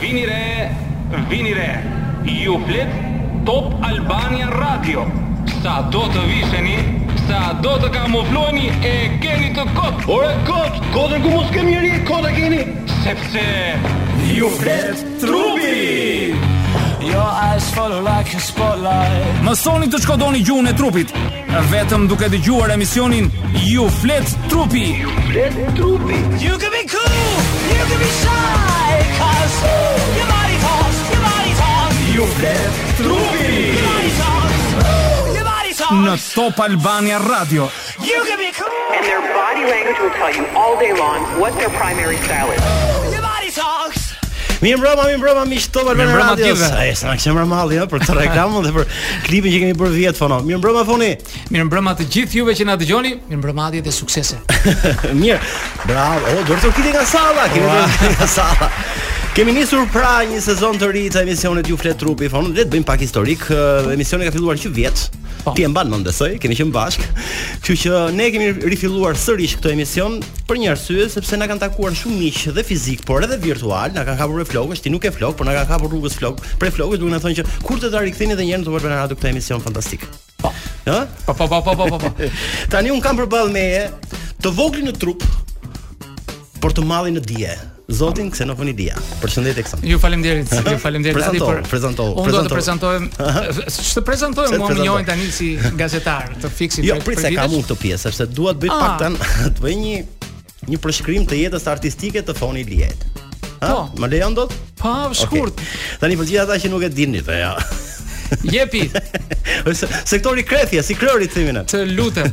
Vini re, vini re. Ju flet Top Albania Radio. Sa do të visheni, sa do të kamufloheni e keni të kot. Ore kot, kotën ku mos kemi njerë, kota keni. Sepse Ju flet trupi. Your eyes follow like a spotlight. Mësoni të shkodoni gjuhën e trupit vetëm duke dëgjuar emisionin Ju flet trupi. Flet trupi. You can be cool, you can be shy, cause ooh, your body talks, your body talks, Ju flet trupi. your body talks, ooh, your body Në talks. Top Albania Radio. You can be cool, And their body language will tell you all day long what their primary style is. your body talks. Mi mbrëma, mi mbrëma, mi shto për në mbrëma radios. ative. Ai sa na kishëm rëmalli ë për të reklamën dhe për klipin që kemi bërë vjet fono. Mi mbrëma foni. Mirë mbrëma të gjithë juve që na dëgjoni. Mirëmbrëmadje dhe suksese. Mirë. Bravo. O, do të kiti nga salla, kemi të rkitin nga salla. Kemi nisur pra një sezon të ri të emisionit Ju flet trupi fon. Le të bëjmë pak historik. Ë, Emisioni ka filluar që vjet. Po. Ti e mban mend besoj, kemi qenë bashkë. Kështu që ne kemi rifilluar sërish këtë emision për një arsye sepse na kanë takuar shumë miq dhe fizik, por edhe virtual, na kanë kapur me flokësh, ti nuk e flok, por na kanë kapur rrugës flok. Për flokësh duhet na thonë që kur të ta riktheni edhe një herë në Top Albana Radio këtë emision fantastik. Po. Ë? Po po po po po po. po. Tani un kam përballë meje të voglin në trup, por të mallin në dije. Zotin Xenofoni Dia. Përshëndetje Xen. Ju falemderit, ju falemderit Prezanto, Adi për prezanto, Unë do të prezanto. prezantohem. Ç'të prezantohem, Se mua më prezanto. njohin tani si gazetar të fiksit Jo, për- prit për se kam vitesh. unë këtë pjesë, sepse dua të bëj Ah. pak tan, të bëj një një përshkrim të jetës artistike të Foni Liet. Ha? Po. Më lejon dot? Po, shkurt. Okay. Tani për gjithë ata që nuk e dinin dhe ja. Jepi, Ose sektori krethje, si krori thimin atë. të lutem.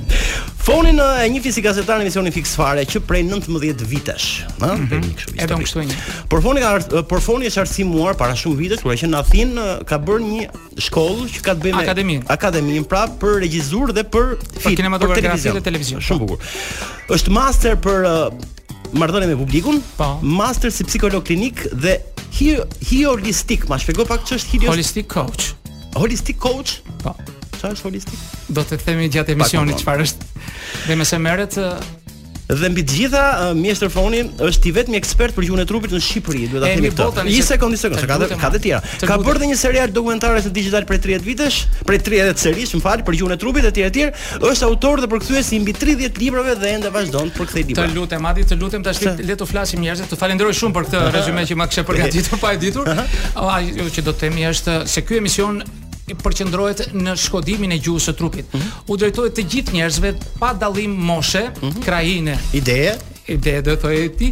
Foni në e një fizik gazetar në emisionin fiks fare që prej 19 vitesh, ha? Mm kështu. Mhm. E bëm kështu historik. një. Por foni ka art- por foni është arsimuar para shumë vitesh, kur ka qenë në Athinë, ka bërë një shkollë që ka të bëjë me Akademinë. Akademinë pra për regjizur dhe për film, kinematografi dhe televizion. po. Shumë bukur. Është master për uh, marrëdhënie me publikun, Po. master si psikolog klinik dhe hi- hiolistik. Ma shpjegoj pak ç'është hiolistik? Holistic coach. Holistic coach? Po. Çfarë është holistik? Do të themi gjatë emisionit Pak më çfarë është. Dhe mëse merret ë, Dhe mbi të gjitha, uh, mjeshtër Foni është i vetmi ekspert për gjuhën e trupit në Shqipëri, duhet ta E, themi mi këtë. bota, Një një se- sekondë, një sekondë, të se ka dhe, lutem, ka dhe tjera. të Ka lutem. bërë dhe një serial dokumentare të digital prej 30 vitesh, prej 30 serish, më fal, për gjuhën e trupit e tjerë e tjerë. Është autor dhe përkthyes i mbi 30 librave dhe ende vazhdon të përkthej Të libra. lutem Adi, të lutem tash le le të flasim njerëz. Të falenderoj shumë për këtë rezume që ma kishe përgatitur pa e ditur. Ajo që do të themi është se ky emision përqendrohet në shkodimin e gjuhës së trupit. U drejtohet të gjithë njerëzve pa dallim moshe, krahine, Ideje, ide do thojë ti.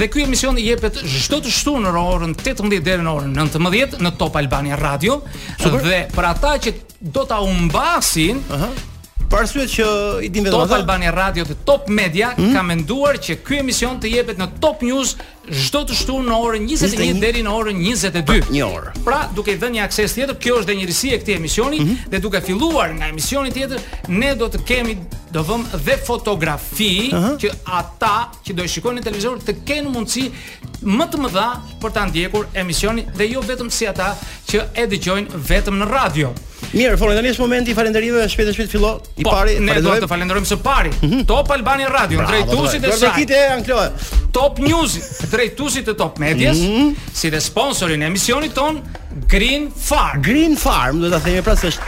Dhe ky emision i jepet çdo të shtunë në orën 18 deri në orën 19 në Top Albania Radio dhe për ata që do ta humbasin për arsye që i din vetëm Hmm? Top ata. Albania Radio dhe Top Media ka menduar që ky emision të jepet në Top News çdo të shtunë në orën 21 21 deri në orën 22. Një orë. Hmm? Pra, duke i dhënë një akses tjetër, kjo është dhe njërisi e këtij emisioni dhe duke filluar nga emisioni tjetër, ne do të kemi do vëm dhe fotografi që ata që do e shikojnë në televizor të kenë mundësi më të mëdha për ta ndjekur emisionin dhe jo vetëm si ata që e dëgjojnë vetëm në radio. Mirë, Foni, tani është momenti i falënderimeve, shpejt e shpejt fillo. I Po, pari, Mhm. ne do të falenderojmë së pari Top Albania Radio, drejtuesit e saj. Drejtuesit e Ankloe. Top News, drejtuesit e Top Medias, Mhm. si dhe sponsorin e emisionit ton Green Farm. Green Farm, do ta themi pra se është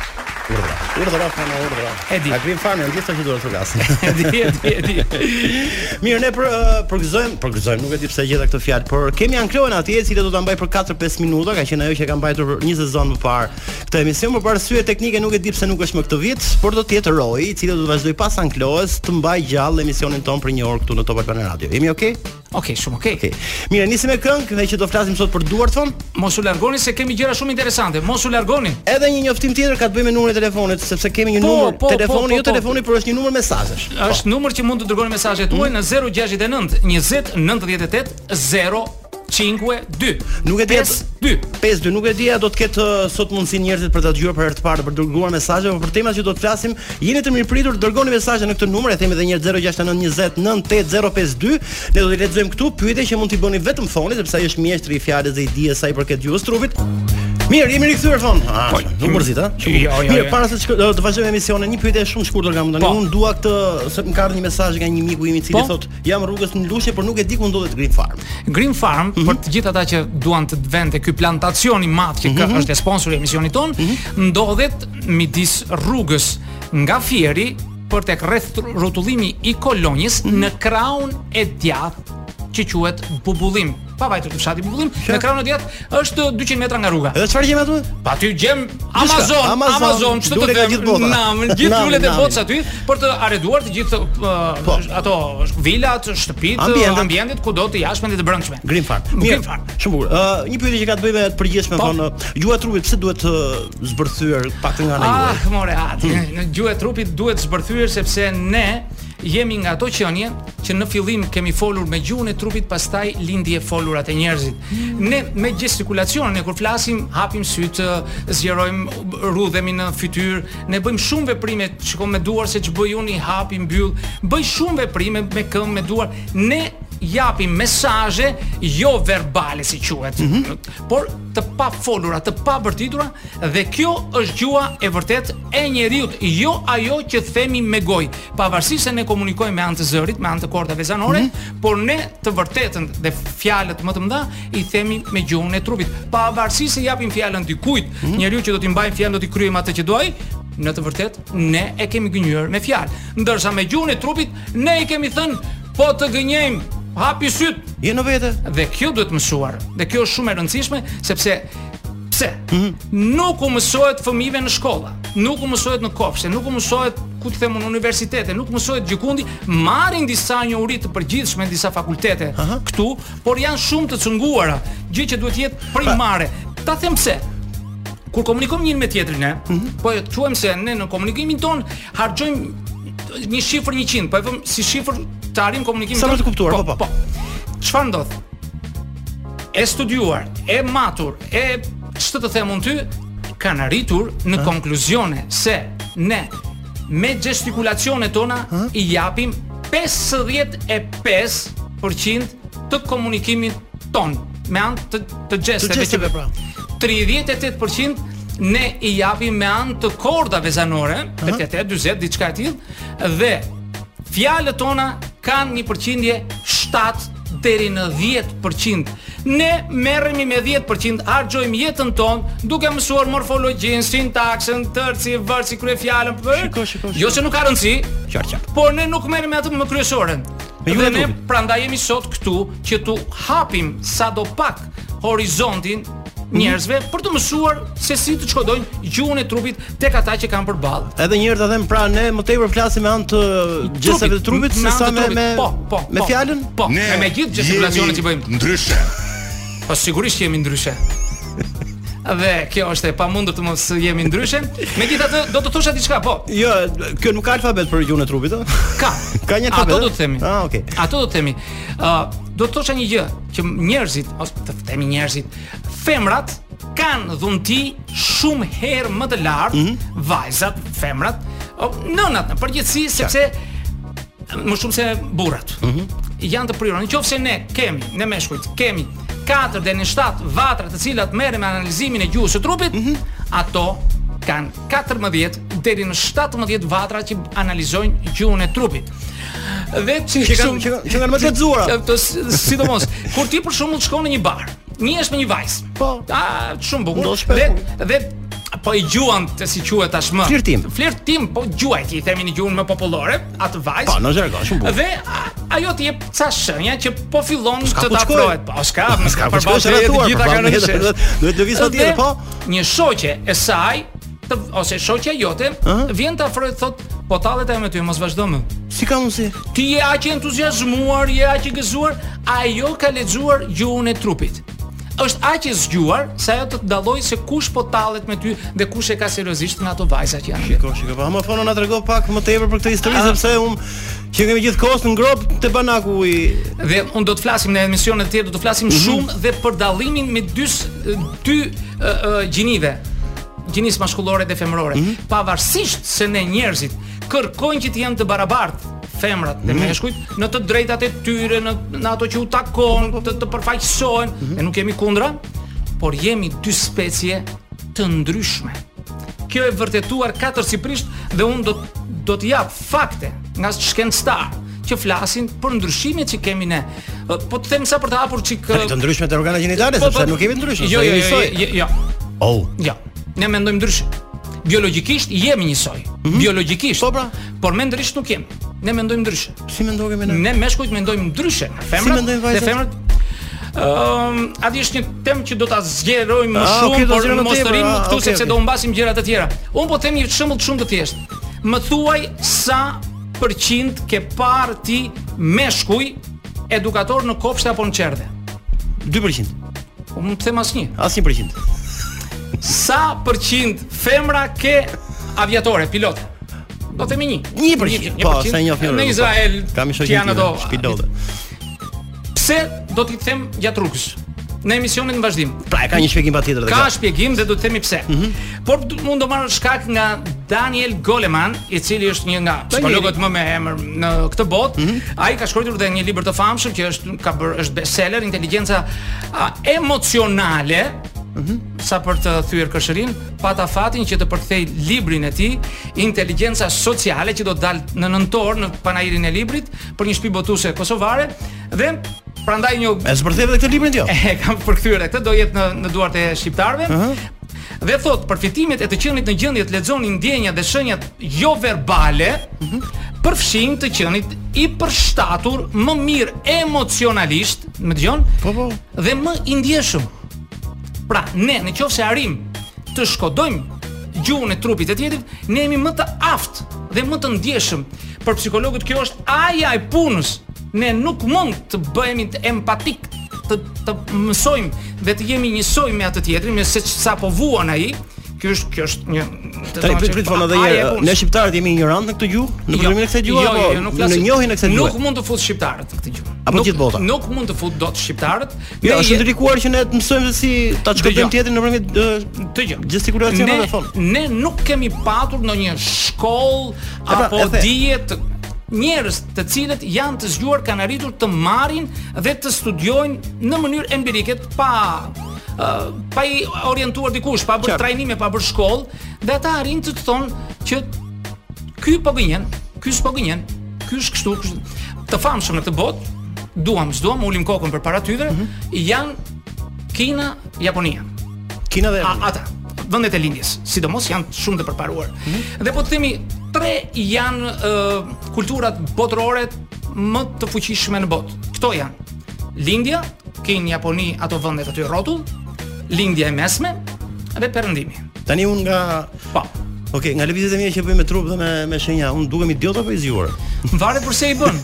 urdhra. Urdhra, fana urdhra. E di. A Green Farm janë gjithë ato që duhet të flasin. E di, e di, e di. Mirë, ne për ë, përgëzojmë, përgëzojmë, nuk e di pse e gjeta këtë fjalë, por kemi Ankloen atje, e cila do ta mbaj për 4-5 minuta, ka qenë ajo që e ka mbajtur për një sezon më parë. Këtë emision për arsye teknike nuk e di pse nuk është më këtë vit, por do të jetë Roy, i cili do të vazhdoj pas Ankloes të mbaj gjallë emisionin ton për një orë këtu në Top Albana Radio. Jemi okay? Okej, shumë okej. Okej. Mirë, nisim me këngë dhe që do flasim sot për duart fon. Mos u largoni se kemi gjëra shumë interesante. Mos u largoni. Edhe një njoftim tjetër ka të bëjë me numrin e telefonit, sepse kemi një Po, numër po, po, telefoni, po, jo po. telefoni, por është një numër mesazhesh. Është numër që mund të dërgoni mesazhet tuaja Mhm. në 069 20 98 052. Nuk e di atë- 2. 5-2 nuk e dia do të ketë uh, sot mundësi njerëzit për ta dëgjuar për herë të parë për të dërguar mesazhe, por për temat që do të flasim, jeni të mirëpritur, dërgoni mesazhe në këtë numër, e themi edhe një herë 0692098052. Ne do t'i lexojmë këtu pyetje që mund t'i bëni vetëm foni, sepse ai është mjeshtri i fjalës dhe i dijes sa i përket gjuhës trupit. Mirë, jemi rikthyer fon. Ah, Po, nuk mërzit, ha? Shumë. Jo, jo, Mirë, jo. para se të shko- do të vazhdojmë emisionin, një pyetje shumë shkurtër kam tani. Po. Unë dua këtë se më ka ardhur një mesazh nga një miku im i cili Po. thotë, "Jam rrugës në Lushe, por nuk e di ku ndodhet Green Farm." Green Farm Mhm. për të gjithë ata që duan të vende ky plantacion i madh që Mhm. ka është e sponsori i emisionit ton, ndodhet midis rrugës nga Fieri për tek rreth rrotullimi i Kolonjës Mhm. në kraun e djathtë që quhet Bubullim. Pa vajtur të fshati Bubullim, në kraun e djathtë është 200 metra nga rruga. Edhe çfarë gjemi aty? Pa ty gjem Amazon, Amazon, Amazon, ç'të të lule nga them, gjithë bota. Namën, gjithë Namën, lulet e namën. botës aty për të arreduar të gjithë uh, Po. ato vilat, shtëpitë, Ambientet. ambientet kudo të jashtme dhe të brendshme. Green Farm. Green Farm. Shumë bukur. Ë, një pyetje që ka të bëjë me të përgjithshme Po. thonë, gjuha e trupit pse duhet të zbërthyer pak nga ana juaj? Ah, more atë. Në gjuhë e trupit duhet zbërthyer sepse ne jemi nga ato qenie që në fillim kemi folur me gjuhën e trupit, pastaj lindi e folurat e njerëzit. Ne me gestikulacionin e kur flasim, hapim sytë, zgjerojmë rrudhemi në fytyrë, ne bëjmë shumë veprime, shikojmë me duar se ç'bëj unë i hap, i mbyll, bëj shumë veprime me këmbë, me duar. Ne japim mesazhe jo verbale si quhet, por të pa folura, të pa bërtitura dhe kjo është gjua e vërtet e njeriu, jo ajo që themi me gojë, pavarësisht se ne komunikojmë me anë të zërit, me anë të kortave zanore, por ne të vërtetën dhe fjalët më të mëdha i themi me gjuhën e trupit, pavarësisht se japim fjalën dikujt, njeriu që do t'i mbajmë fjalën do t'i kryejmë atë që doj, në të vërtet ne e kemi gënjur me fjalë, ndërsa me gjuhën e trupit ne i kemi thënë po të gënjejmë, hapi syt, Je në vete. Dhe kjo duhet mësuar. Dhe kjo është shumë e rëndësishme sepse pse? Nuk u mësohet fëmijëve në shkolla, nuk u mësohet në kopshte, nuk u mësohet ku të them në universitete, nuk mësohet gjikundi, marrin disa njohuri të përgjithshme në disa fakultete këtu, por janë shumë të cunguara, gjë që duhet të jetë primare. Ta them pse? Kur komunikojmë njëri me tjetrin ne, Mhm. po e quajmë se ne në komunikimin ton harxojmë një shifër 100, po e vëmë si shifër të arrim komunikimin Sa ton. për të kuptuar, po, po. po. Çfarë ndodh? E studiuar, e matur, e ç'të të them unë ty, kanë arritur në konkluzione se ne me gestikulacionet tona i japim 55% të komunikimit ton me anë të, të gjesteve. që- gjesteve, pra. 38% ne i japim me anë të kordave zanore, 88, 40, diçka e tillë, dhe fjalët tona kanë një përqindje 7 deri në 10%. Ne merremi me 10%, harxojmë jetën tonë duke mësuar morfologjinë, sintaksën, tërci, vërci, kryefjalën për. Shiko, shiko, shiko. Jo se nuk ka rëndësi, Qartë, qartë. por ne nuk merrem me atë më kryesorën. Me ju Dhe dhe ne trupit. prandaj jemi sot këtu që tu hapim sado pak horizontin Mhm. njerëzve për të mësuar se si të shkodojnë gjuhën e trupit tek ata që kanë përballë. Edhe një herë ta them, pra ne më tepër flasim me anë të gjestave të me trupit se anë sa të me trupit. me po, po, me po, fjalën. Po, e me gjithë gestikulacionet që bëjmë. Ndryshe. Po sigurisht që jemi ndryshe. Dhe kjo është e pamundur të mos jemi ndryshe. Megjithatë do të thosha diçka, po. Jo, kjo nuk ka alfabet për gjuhën e trupit, ëh. Ka. Ka një alfabet. Ato ë? do të themi. Ah, okay. Ato do të themi. Ë, do të thosha një gjë që njerëzit ose të themi njerëzit, femrat kanë dhunti shumë herë më të lartë, Mhm. vajzat, femrat, o, nënat në përgjithësi sepse më shumë se burrat. Mhm. Janë të prirur. Nëse ne kemi, ne meshkujt kemi 4 deri në 7 vatra të cilat merren me analizimin e gjuhës së trupit, Mhm. ato kanë 14 deri në 17 vatra që analizojnë gjuhën e trupit. Dhe që, Që kanë- që kanë- që kanë më të lexuara. Të sidomos, kur ti për shembull shkon në një bar, njihesh me një vajzë. Po. A, shumë bukur. Do shpesh, Dhe po. dhe po i gjuan të si quhet tashmë. Flirtim. Flirtim, po gjuaj ti i themi në gjuhën më popullore, atë vajzë. Po, në jargon, shumë bukur. Dhe a- ajo të jep ca shenja që po fillon s'ka të ku ta shkoj. afrohet. Po s'ka, s'ka po për shkosh bashkë të rrethuar, gjitha përballë kanë me rënë. jetën, duhet lëviz Dhe patjetër, po. Një shoqe e saj të, ose shoqja jote vjen të afrohet thot, po tallet ajo me ty, mos vazhdo më. Si ka mundsi? Ti je aq e entuziazmuar, je aq e gëzuar, ajo ka lexuar gjuhën e trupit. Është aq e zgjuar sa ajo të të dallojë se kush po tallet me ty dhe kush e ka seriozisht nga ato vajza që janë. Shiko, shiko, po më fono na trego pak më tepër për këtë histori Ah. sepse un që kemi gjithkohës në grop te banaku i Dhe unë do të flasim në emisione të tjera, do të flasim shumë dhe për dallimin me dy s- dy ë, ë, gjinive, gjinisë maskullore dhe femërore. Pavarësisht se ne njerëzit kërkojnë që të jenë të barabartë femrat dhe meshkujt në të drejtat e tyre, në, në ato që u takon, të, të përfaqësohen, ne nuk kemi kundra, por jemi dy specie të ndryshme. Kjo e vërtetuar katërsipërisht dhe unë do do të jap fakte nga shkencëtar që flasin për ndryshimet që kemi ne. Ë, Po të them sa për të hapur çik ë, Tani të ndryshme të organe gjinitale po, sepse po, nuk kemi ndryshme, Jo, se jo, jemi jo, soi. jo, jo, Oh, jo. Ne mendojmë ndryshe. Biologjikisht jemi njësoj. Biologjikisht. Po, pra. Por mendërisht nuk jemi. Ne mendojmë ndryshe. si mendon kemi ne? Ne meshkujt mendojmë ndryshe. Femrat dhe mendojnë vajzat? femrat Ëm, a di është një temë që do ta zgjerojmë më Ah, shumë, okay, do por zgjerojmë më mos të tepër, rrim ah, këtu okay, sepse okay. do humbasim gjëra të tjera. Un po them një shembull shumë të thjeshtë. Më thuaj sa përqind ke parë ti meshkuj edukator në kopshte apo në çerdhe? 2%. Unë nuk them asnjë. Asnjë përqind. Sa përqind femra ke aviatore, pilot? Do themi një. Një përqind. Po, se njoh mirë. Në Izrael kam i shoqë janë ato shpilote. Pse do t'i them gjatë rrugës? Në emisionin në vazhdim. Pra e ka një shpjegim patjetër Ka kjo. shpjegim dhe do të themi pse. Por du- mund do marr shkak nga Daniel Goleman, i cili është një nga psikologët më me emër në këtë botë. Ai ka shkruar dhe një libër të famshëm që është ka bërë është bestseller Inteligjenca a, emocionale. Sa për të thyer këshërin, pata fatin që të përkthej librin e tij Inteligjenca sociale që do të dalë në nëntor në panajirin e librit për një shtëpi botuese kosovare dhe prandaj një E zbërtheve këtë librin jo. e kam përkthyer e këtë do jetë në në duart e shqiptarëve. Dhe thot përfitimet e të qenit në gjendje të lexoni ndjenjat dhe shenjat jo verbale, përfshin të qenit i përshtatur më mirë emocionalisht, më dëgjon? Po, po. Dhe më i ndjeshëm. Pra, ne në qoftë se arrim të shkodojmë gjuhën e trupit të tjetrit, ne jemi më të aftë dhe më të ndjeshëm. Për psikologët kjo është aja e punës. Ne nuk mund të bëhemi të empatik, të të mësojmë dhe të jemi njësoj me atë tjetrin, me se sa po vuan ai. Ky është kjo është një të Tani thonë prit që prit vonë edhe aja e herë. punës. Ne shqiptarët jemi ignorant në këtë gjuhë, në Jo, përdorim në këtë gjuhë jo, apo jo, jo, nuk flasim- në njohjen e kësaj Nuk gjuhë. mund të fut shqiptarët në këtë gjuhë. Apo Nuk- gjithë bota. Nuk mund të fut dot shqiptarët. Jo, Ne është je- ndrikuar që ne të mësojmë se si ta Dëgjoj. çkoptojmë tjetrin nëpërmjet ë, të gjë. gestikulacioneve Ne- fon. Ne nuk kemi patur ndonjë shkollë pra, apo e the. dije të njerëz të cilët janë të zgjuar kanë arritur të marrin dhe të studiojnë në mënyrë empirike të pa ë, pa i orientuar dikush, pa bërë Qartë. trajnime, pa bërë shkollë, dhe ata arrin të të thonë që ky po gënjen, ky s'po gënjen, ky është kështu, kështu. Të famshëm në këtë botë, duam s'duam, ulim kokën përpara tyre, Mhm. janë Kina, Japonia Kina dhe a, ata vendet e lindjes, sidomos janë shumë të përparuar. Mhm. Dhe po të themi tre janë ë, kulturat botërore më të fuqishme në botë. Këto janë lindja, Kinë, Japoni, ato vendet aty rrotull, lindja e mesme dhe perëndimi. tani unë nga Po. Ok, nga lëvizjet e mia që bëj me trup dhe me me shenja, unë dukem idiot apo i zgjuar? Varet përse i bën.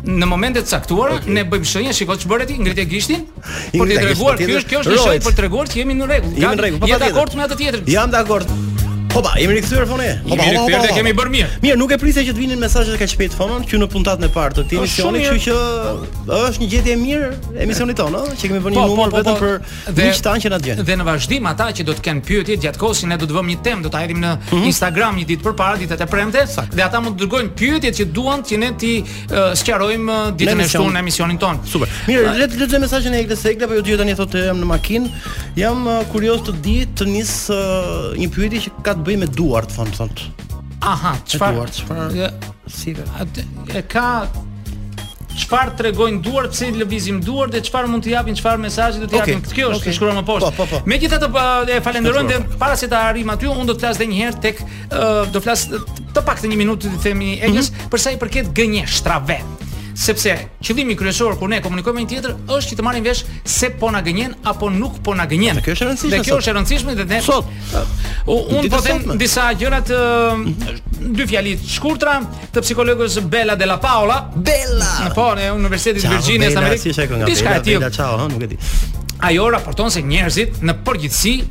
Në momentet caktuara ne bëjmë shenjë, shikoj ç'bëre ti, ngritje gishtin, për Ngritja t'i treguar, ky gishtin, tjetër, është kjo është një shenjë rrojt. për t'treguar që jemi në rregull. Jemi në rregull, po Jo, Je patjetër. dakord me atë tjetrin? Jam dakord. Hopa, jemi rikthyer fonë. Hopa, Jemi hopa, rikthyer hopa. dhe kemi bërë mirë. Mirë, nuk e prisja që të vinin mesazhet kaq shpejt fonon, që në puntatën e parë të këtij Është shumë emisioni, kështu që është një gjetje e mirë emisionit tonë, ëh, që kemi Po, vënë një numër Po, vetëm për miq tan që na djenë. Dhe në vazhdim ata që do të kenë pyetje gjatë kohës, ne do të vëmë një temë, do ta hedhim në Mhm. Instagram një ditë përpara ditët e premte, dhe ata mund të dërgojnë pyetjet që duan që ne ti uh, sqarojmë ë, ditën e emision. shtunë në emisionin ton. Super. Mirë, le të lexoj mesazhin e Eglës Segla, po ju dy tani thotë jam në makinë. Jam uh, kurioz të di të nis uh, një pyetje që ka të bëjë me duart, thon thot. Aha, çfarë? duart, çfarë- Ë, Si ka? atë- E ka çfarë tregojnë duart, pse i lëvizim duart dhe çfarë mund të japin, çfarë mesazhe do të Okej, japin. Kjo është okej. e shkruar më poshtë. Po, po, po. Megjithatë pa- e falenderojmë dhe Shkruar. para se ta arrim aty, unë do të flas edhe një herë tek ë, do flas të- të paktën një minutë të themi Mhm. Eglës për sa i përket gënjeshtrave sepse qëllimi kryesor kur ne komunikojmë me një tjetër është që të marrim vesh se po na gënjen apo nuk po na gënjen. Dhe kjo është e rëndësishme Dhe kjo sot. është e rëndësishme dhe ne Sot. U- unë Ditë po e them sotme. disa gjëra të dy fjali të shkurtra të psikologus Bella Della Paola. Bella. Po, në Universitetin e Virginias në Amerikë. Si është ajo nga Diçka e Bela, tillë. Bela, ciao, ha, nuk e di. Ajo raporton se njerëzit në përgjithësi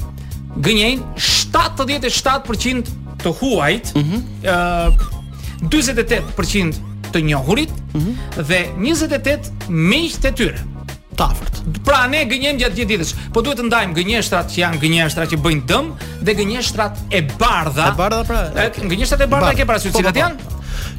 gënjejnë 77% të huajt, Mhm. ëh, 48% të njohurit Mhm. dhe 28 miq të tyre. Tafërt. Pra ne gënjem gjatë gjithë ditës, po duhet të ndajmë gënjeshtrat që janë gënjeshtra që bëjnë dëm dhe gënjeshtrat e bardha. E bardha, pra, E, okay. Gënjeshtrat e bardha Bardha. ke parasysh Mhm. Po, po, cilat po. janë?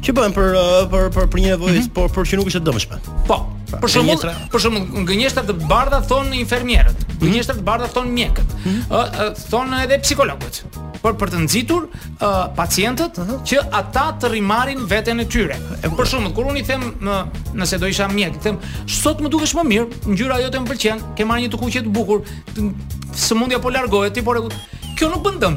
Që bëhen për uh, për për për një nevojë, por por që nuk është e dëmshme. Po. Për shembull, gënjeshtra. për shembull gënjeshtra të bardha thon infermierët, gënjeshtra të bardha thon mjekët, ë ë, thon edhe psikologët. Por për të nxitur ë, pacientët që ata të rimarin veten e tyre. Për shembull, kur unë i them në, nëse do isha mjek, i them, "Sot më dukesh më mirë, ngjyra jote më pëlqen, ke marrë një tukuqe të bukur, të- sëmundja po largohet, ti po rregull." Kjo nuk bën dëm.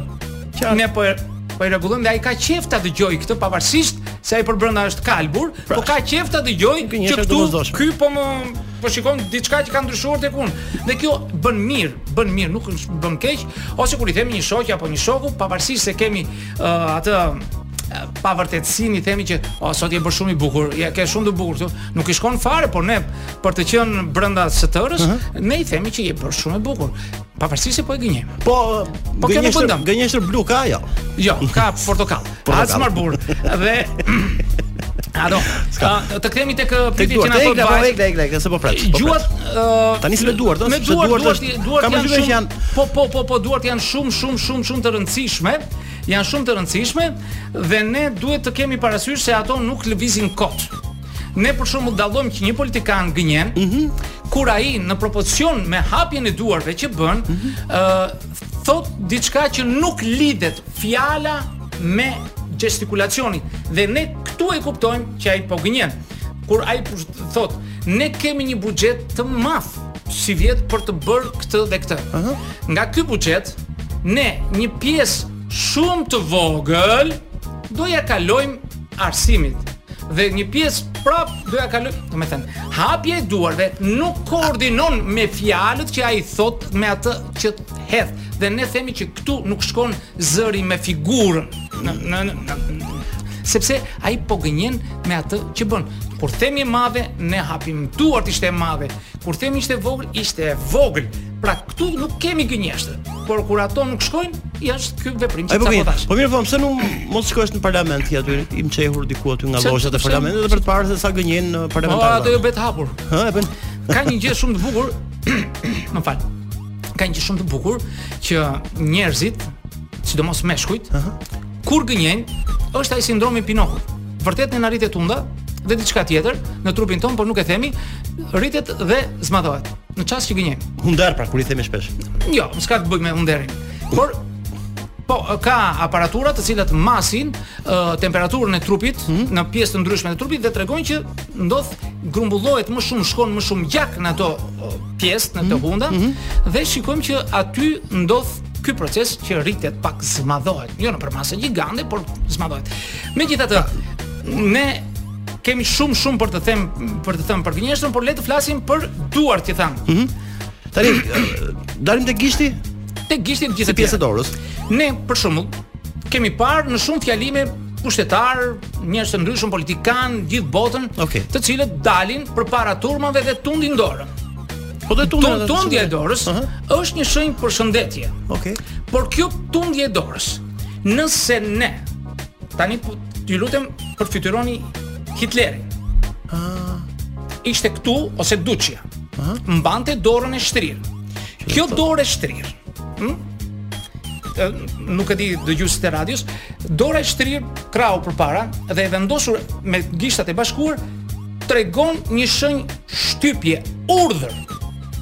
Ne po e- po i rregullojmë dhe ai ka qejf ta dëgjoj këtë pavarësisht se ai për brenda është kalbur, po ka qejf ta dëgjoj që Gënjeshtër këtu domosdoshme. ky po më po shikon diçka që ka ndryshuar tek unë. Dhe kjo bën mirë, bën mirë, nuk është- bën keq, ose kur i themi një shoqë apo një shoku, pavarësisht se kemi uh, atë ë, pa vërtetësinë i themi që o sot je bërë shumë i bukur, je ke shumë të bukur këtu. Nuk i shkon fare, por ne për të qenë brenda së tërës, ne i themi që je bërë shumë i bukur. Pavarësisht se po e gënjem. Po, Po kjo nuk gënjeshtër- bëndam. gënjeshtër blu ka jo. Jo, ka portokall. Portokall. As marbur. Dhe Ado, a, të kthehemi tek ë, Tek pyetja që duart, na tek, bën apo vajt. tek, tek, tek, se po pret. po pret. Gjuat ë, Tani si me duart, ëh, me sepse duart, duart duart, është- duart kam janë përshtypjen shumë që janë- po po po po duart janë shumë shumë shumë shumë të rëndësishme, janë shumë të rëndësishme dhe ne duhet të kemi parasysh se ato nuk lëvizin kot. Ne për shembull dallojmë që një politikan gënjen, kur ai në proporcion me hapjen e duarve që bën, ë thot diçka që nuk lidhet fjala me gestikulacionin dhe ne këtu e kuptojmë që ai po gënjen. Kur ai pus- thot, ne kemi një buxhet të madh si vjet për të bërë këtë dhe këtë. Nga ky buxhet ne një pjesë shumë të vogël do ja kalojmë arsimit dhe një pjesë prap do ja kaloj, do të thënë, hapja e duarve nuk koordinon me fjalët që ai thot me atë që hedh. Dhe ne themi që këtu nuk shkon zëri me figurën. Në në në, në sepse ai po gënjen me atë që bën. Kur themi e madhe, ne hapim duart ishte e madhe. Kur themi ishte e vogël, ishte e vogël. Pra këtu nuk kemi gënjeshtër, por kur ato nuk shkojnë, është ky veprim Ai që po mirë, sabotash. po mirë po pse nuk mos shkosh në parlament ti aty, i mçehur diku aty nga Pse- loshat e pse- parlamentit edhe për të parë se sa gënjen uh, Po parlamentarët. ato jo bëhet hapur. Hë, e bën. ka një gjë shumë të bukur, më fal. Ka një gjë shumë të bukur që njerëzit, sidomos meshkujt, kur gënjejnë, është ai sindromi i Pinokut. Vërtet në rritet tunda dhe diçka tjetër në trupin ton, por nuk e themi, rritet dhe zmadhohet. Në çast që gënjejmë. Hundar pra kur i themi shpesh. Jo, s'ka të bëj me underin. Por po ka aparatura të cilat masin, ë, temperaturën e trupit në pjesë të ndryshme të trupit dhe tregojnë që ndodh grumbullohet më shumë, shkon më shumë gjak në ato ë, pjesë, në ato hunda dhe shikojmë që aty ndodh ky proces që rritet pak zmadhohet, jo nëpër masë gjigande, por zmadhohet. Megjithatë, ne kemi shumë shumë për të them për të thënë për gënjeshtën, por le të flasim për duart që tham. Tani ë, dalim te gishti, Te gishtin gjithë te pjesa e dorës. Ne për shembull kemi parë në shumë fjalime pushtetar, njerëz të ndryshëm, politikan, gjithë botën, Okej. të cilët dalin përpara turmave dhe tundin dorën. Po do Tund, tundja e dorës është një shenjë për shëndetje. Okej. Por kjo tundje e dorës, nëse ne tani po ju lutem përfytyroni Hitlerin. Ishte këtu ose Duçia. Mbante dorën e shtrirë. Kjo dorë e shtrirë. hm? Ë, nuk e di dëgjuesit e radios, dora e shtrir krahu përpara dhe e vendosur me gishtat e bashkuar tregon një shenjë shtypje, urdhër.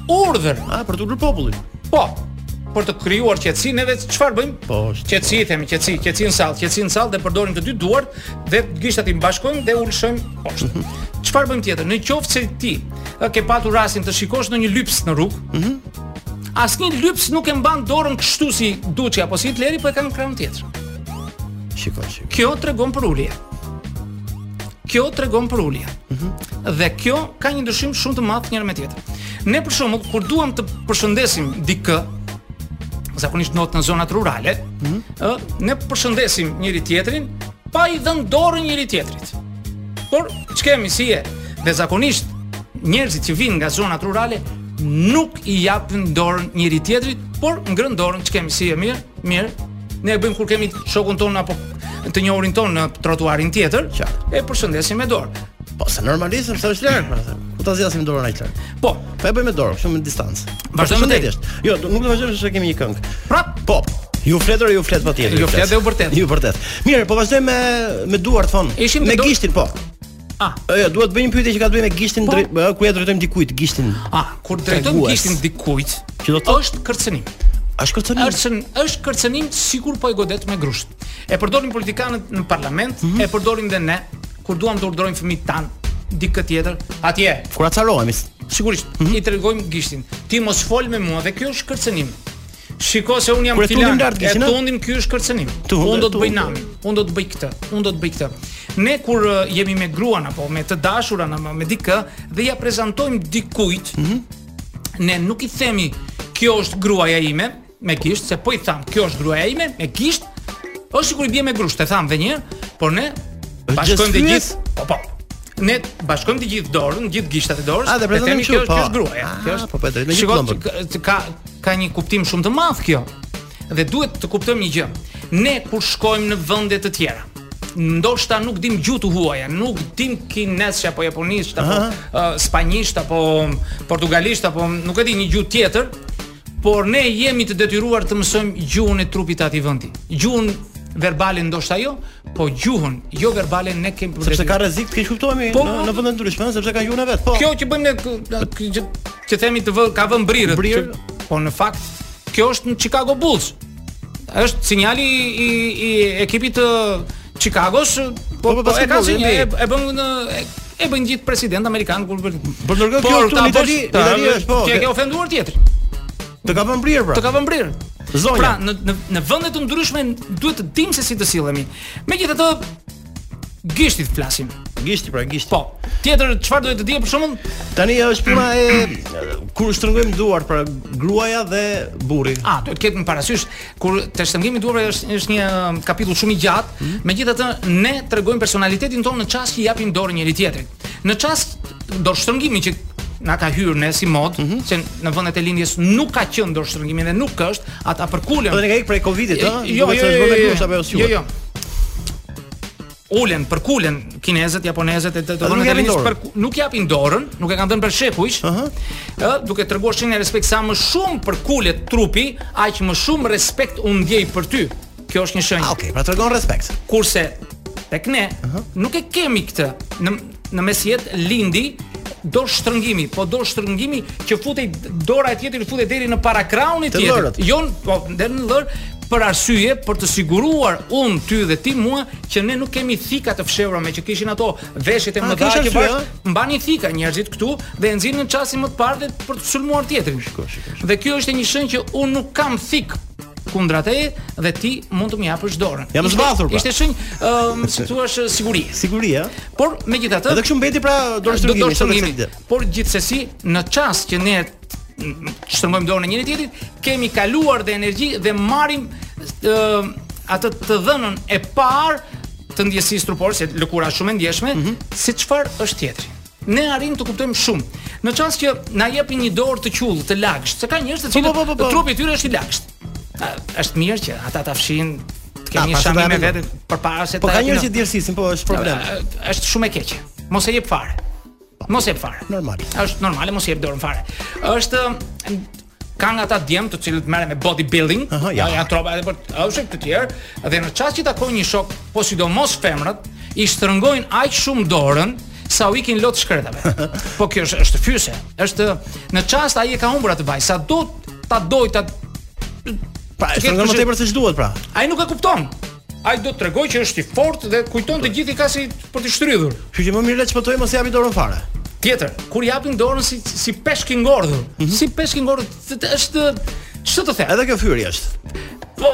Urdhër. Ah, për të ulur popullin. Po, për të krijuar qetësi neve çfarë bëjmë? Po, është. qetësi i themi, qetësi, qetësi në sallë, qetësi në sallë dhe përdorim të dy duart dhe gishtat i mbashkojmë dhe ulshojmë poshtë. Mhm. Çfarë bëjmë tjetër? Në qoftë se ti ë, ke patur rastin të shikosh në një lyps në rrugë, Mhm. asnjë lyps nuk e mban dorën kështu si Duçi apo si Hitleri, po e kanë krahun tjetër. Shikoj, shikoj. Kjo tregon për ulje. Kjo tregon për ulje. Dhe kjo ka një ndryshim shumë të madh njëra me tjetrën. Ne për shembull kur duam të përshëndesim dikë, zakonisht not në zonat rurale, ë ne përshëndesim njëri tjetrin pa i dhënë dorën njëri tjetrit. Por ç'kemi si e? Dhe zakonisht njerëzit që vinë nga zonat rurale nuk i japin dorën njëri tjetrit, por ngrën dorën ç'kemi si e mirë, mirë. Ne e bëjmë kur kemi shokun ton apo të njohurin ton në trotuarin tjetër, Qartë. e përshëndesim me dorë. Po se normalisht se është larg, pra. se. Ku ta zgjasim dorën ai larg. Po, Po e bëjmë me dorë, kështu në distancë. Vazhdojmë me Përshëndetje. Jo, do- nuk do vazhdojmë se kemi një këngë. prap Po. Ju fletër, ju flet patjetër. Ju flet dhe u vërtet. Ju vërtet. Mirë, po vazhdojmë me me duart thon. Ishim me me duart- gishtin, po. Ah. Jo, duhet të bëj një pyetje që ka të bëjë me Po. gishtin drejt, ë, kur ja drejtojmë dikujt gishtin. Ah, kur drejtojmë Tregues. gishtin dikujt, Që do thotë- është kërcënim. A shkërcon? Është është kërcënim sikur po e godet me grusht. E përdorin politikanët në parlament, Mhm. e përdorim dhe ne kur duam të urdhërojmë fëmijët tan dikë tjetër. Atje, Kur acarohemi. sigurisht, Mhm. i tregojmë gishtin. Ti mos fol me mua dhe kjo është kërcënim. Shiko se un jam Kur e tundim filan. lart E gishtin, a? tundim ky është kërcënim. Tu- Unë do të tu- bëj nami, unë do të bëj këtë, unë do të bëj këtë. Ne kur uh, jemi me gruan apo me të dashurën apo me dikë dhe ja prezantojmë dikujt, Mhm. ne nuk i themi kjo është gruaja ime me gisht, se po i tham kjo është gruaja ime me gisht, është sikur i bie me grusht, e tham dhe një herë, por ne bashkojmë të fyes? gjithë. Po po. Ne bashkojmë të gjithë dorën, gjithë gishtat e dorës. A, dhe prezantojmë themi kjo, kështu, është- po. kjo është gruaja. Kjo Ah, është. po, po, e drejtë, me gjithë Shiko, këmbën. që- ka ka një kuptim shumë të madh kjo. Dhe duhet të kuptojmë një gjë. Ne kur shkojmë në vende të tjera, ndoshta nuk dim gjuhën huaja, nuk dim kinesisht apo japonisht apo uh, spanjisht apo mm, portugalisht apo mm, nuk e di një gjuhë tjetër, por ne jemi të detyruar të mësojmë gjuhën e trupit të atij vendi. Gjuhën verbale ndoshta jo, po gjuhën jo verbale ne kemi për Sepse detyrim. ka rrezik të keq kuptohemi Po, në, po, në po. vende të ndryshme, ëh, sepse ka gjuna vet. Po. Kjo që bëjmë ne kë- na- kë- që, që themi të vë, ka vënë brirët. Brirë. që- Po në fakt kjo është në Chicago Bulls. Është sinjali i, i ekipit të Chicagos, po, Po, po, po, e ka basketbolli, sinjali, e, NBA. e bën në e, e bën gjithë president amerikan kur bën. Por Po, ndërkohë kjo Por këtu ta në Itali, bësh- në Itali është po. Ti e ke ofenduar tjetrin. Të ka vënë brirë pra. Të ka vënë brirë. Zonja. Pra, në në, në vende të ndryshme duhet të dim se si të sillemi. Megjithatë gishtit flasim. Gishti pra, gishti. Po. Tjetër çfarë duhet të dije për shembull? Tani është puna e kur shtrëngojmë duart pra gruaja dhe burri. A, duhet ketë në parasysh kur të shëngimi duhet është është një um, kapitull shumë i gjatë. Megjithatë ne tregojmë personalitetin tonë në çast që i japim dorë njëri tjetrit. Në çast dorë shtrëngimi që na ka hyrë ne si mod, që në vendet e lindjes nuk ka qenë dorë shtrëngimi dhe nuk është, ata përkulen. Po dhe ne ka ikë prej Covidit, Jo, ëh? jo, Duhet jo, se jo, zhvon me jo, grusht apo jo, jo, jo, s'juhet. jo. Ulen, përkulen kinezët, japonezët e të A, të nuk vënë japin dorën? për nuk japin dorën, nuk e kanë dhënë për shekuish. Ëh, duke treguar shenjë respekt sa më shumë përkulet trupi, aq më shumë respekt u ndjej për ty. Kjo është një shenjë. Ah, okay, pra tregon respekt. Kurse tek ne nuk e kemi këtë në në mesjet lindi do shtrëngimi, po do shtrëngimi që futej dora e tjetrit futej deri në para kraunit Të tjetrit. dhërët. Jo, n- po deri në dhër për arsye për të siguruar unë ty dhe ti mua që ne nuk kemi thika të fshehura me që kishin ato veshjet e Ah, mëdha kish që arsye, bash a? mbani thika njerëzit këtu dhe e nxinin në çasin më të parë për të sulmuar tjetrin. Dhe kjo është një shenjë që unë nuk kam thik kundra teje dhe ti mund të më japësh dorën. Jam Ishte- zbathur, pra. Ishte shenjë, ëm, si thua, sigurie. Siguri, ëh. Por megjithatë, Edhe kështu mbeti pra do dorë shtrëngimi, dorë shtrëngimi. shtrëngimi. Por gjithsesi, në çast që ne mm, shtrëngojmë dorën e njëri tjetrit, kemi kaluar dhe energji dhe marrim ë, atë të dhënën e parë të ndjesisë trupore, se lëkura është shumë e ndjeshme, Mhm. si çfarë është tjetri. Ne arrim të kuptojmë shumë. Në çast që na jepin një dorë të qullë, të lagësht, se ka njerëz të cilët po, po, po. trupi i tyre është i lagësht. A- Është mirë që ata ta fshihin të A, kemi një pas e shami me bëjmë. vete përpara se Po ka japin- njerëz që djersisin, po është problem. Ë, është shumë Pra, e keqe. Mos e jep fare. Mos e jep fare. Normal. Është normale mos i jep dorën fare. Është ë, kanë ata djem të cilët merren me bodybuilding, Aha, ja. po Po Pra, Të ketë shtrëngon më përshim- tepër se ç'duhet pra. ai nuk e kupton. Ai do të tregoj që është i fortë dhe kujton të gjithë i ka si për të shtrydhur. Kështu që më mirë le të shpëtojmë mos i japi dorën fare. Tjetër, kur japin dorën si si peshk i ngordhur, Mhm. si peshk i ngordhur t- t- është ç'të të them. Edhe kjo fyri është. Po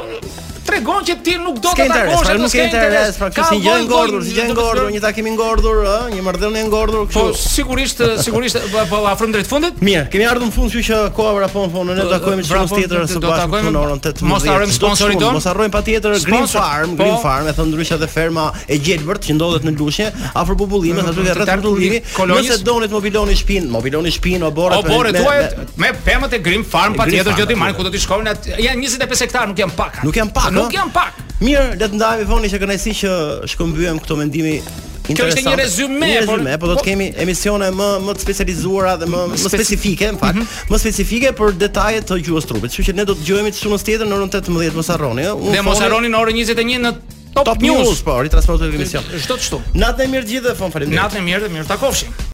tregon që ti nuk do S'ke të Po, interes, takosh pra atë nuk s'ke ke interes, pra Ka kjo si gjë e lloj-lloj- ngordhur, si gjë e ngordhur, një takim i ngordhur, ë, një marrëdhënie e ngordhur, Po kështu. sigurisht sigurisht po- po afrojmë drejt fundit. Mirë, kemi ardhur në fund, kështu që koha vrapon fonë, ne takojmë vrapon, çfarë tjetër së Po, do bashku takojmë, në orën 18. mos harrojmë Çdo të sponsorin shkruajmë, ton. Mos harrojmë patjetër Green Sponsor, Farm, po. Green Farm, e thon ndryshe dhe ferma e gjelbërt që ndodhet në Lushnjë, afër popullimit, aty Mhm, Të ke rreth larg popullimit. kolonjës. Nëse donit mobiloni shtëpinë, mobiloni shtëpinë, oborret. O bore pra, me- me- tuaj me- me pemët e Grim Farm E patjetër Green që ti Farm, marrin ku patjetër. do ti shkojnë atë janë 25 hektar, nuk janë pak. ha. Nuk janë pak, Nuk ha? janë pak. Mirë, le të ndajemi foni që kënaqësi që shkëmbyem këto mendimi Kjo interesante. ishte një rezume, një por- rezume, po do po- të kemi emisione më më të specializuara dhe më më Speci- Mhm. specifike, në fakt, më specifike për detajet të gjuhës trupit. Kështu që ne do të dëgjohemi të shtunës tjetër në orën 18, mos harroni, ëh. Unë Dhe mos Foni- harroni në orën 21 në Top News. po, ritransmetohet në emision. Çdo të shtu. Natën e mirë të gjithëve, fon faleminderit. Natën e mirë dhe mirë takofshim.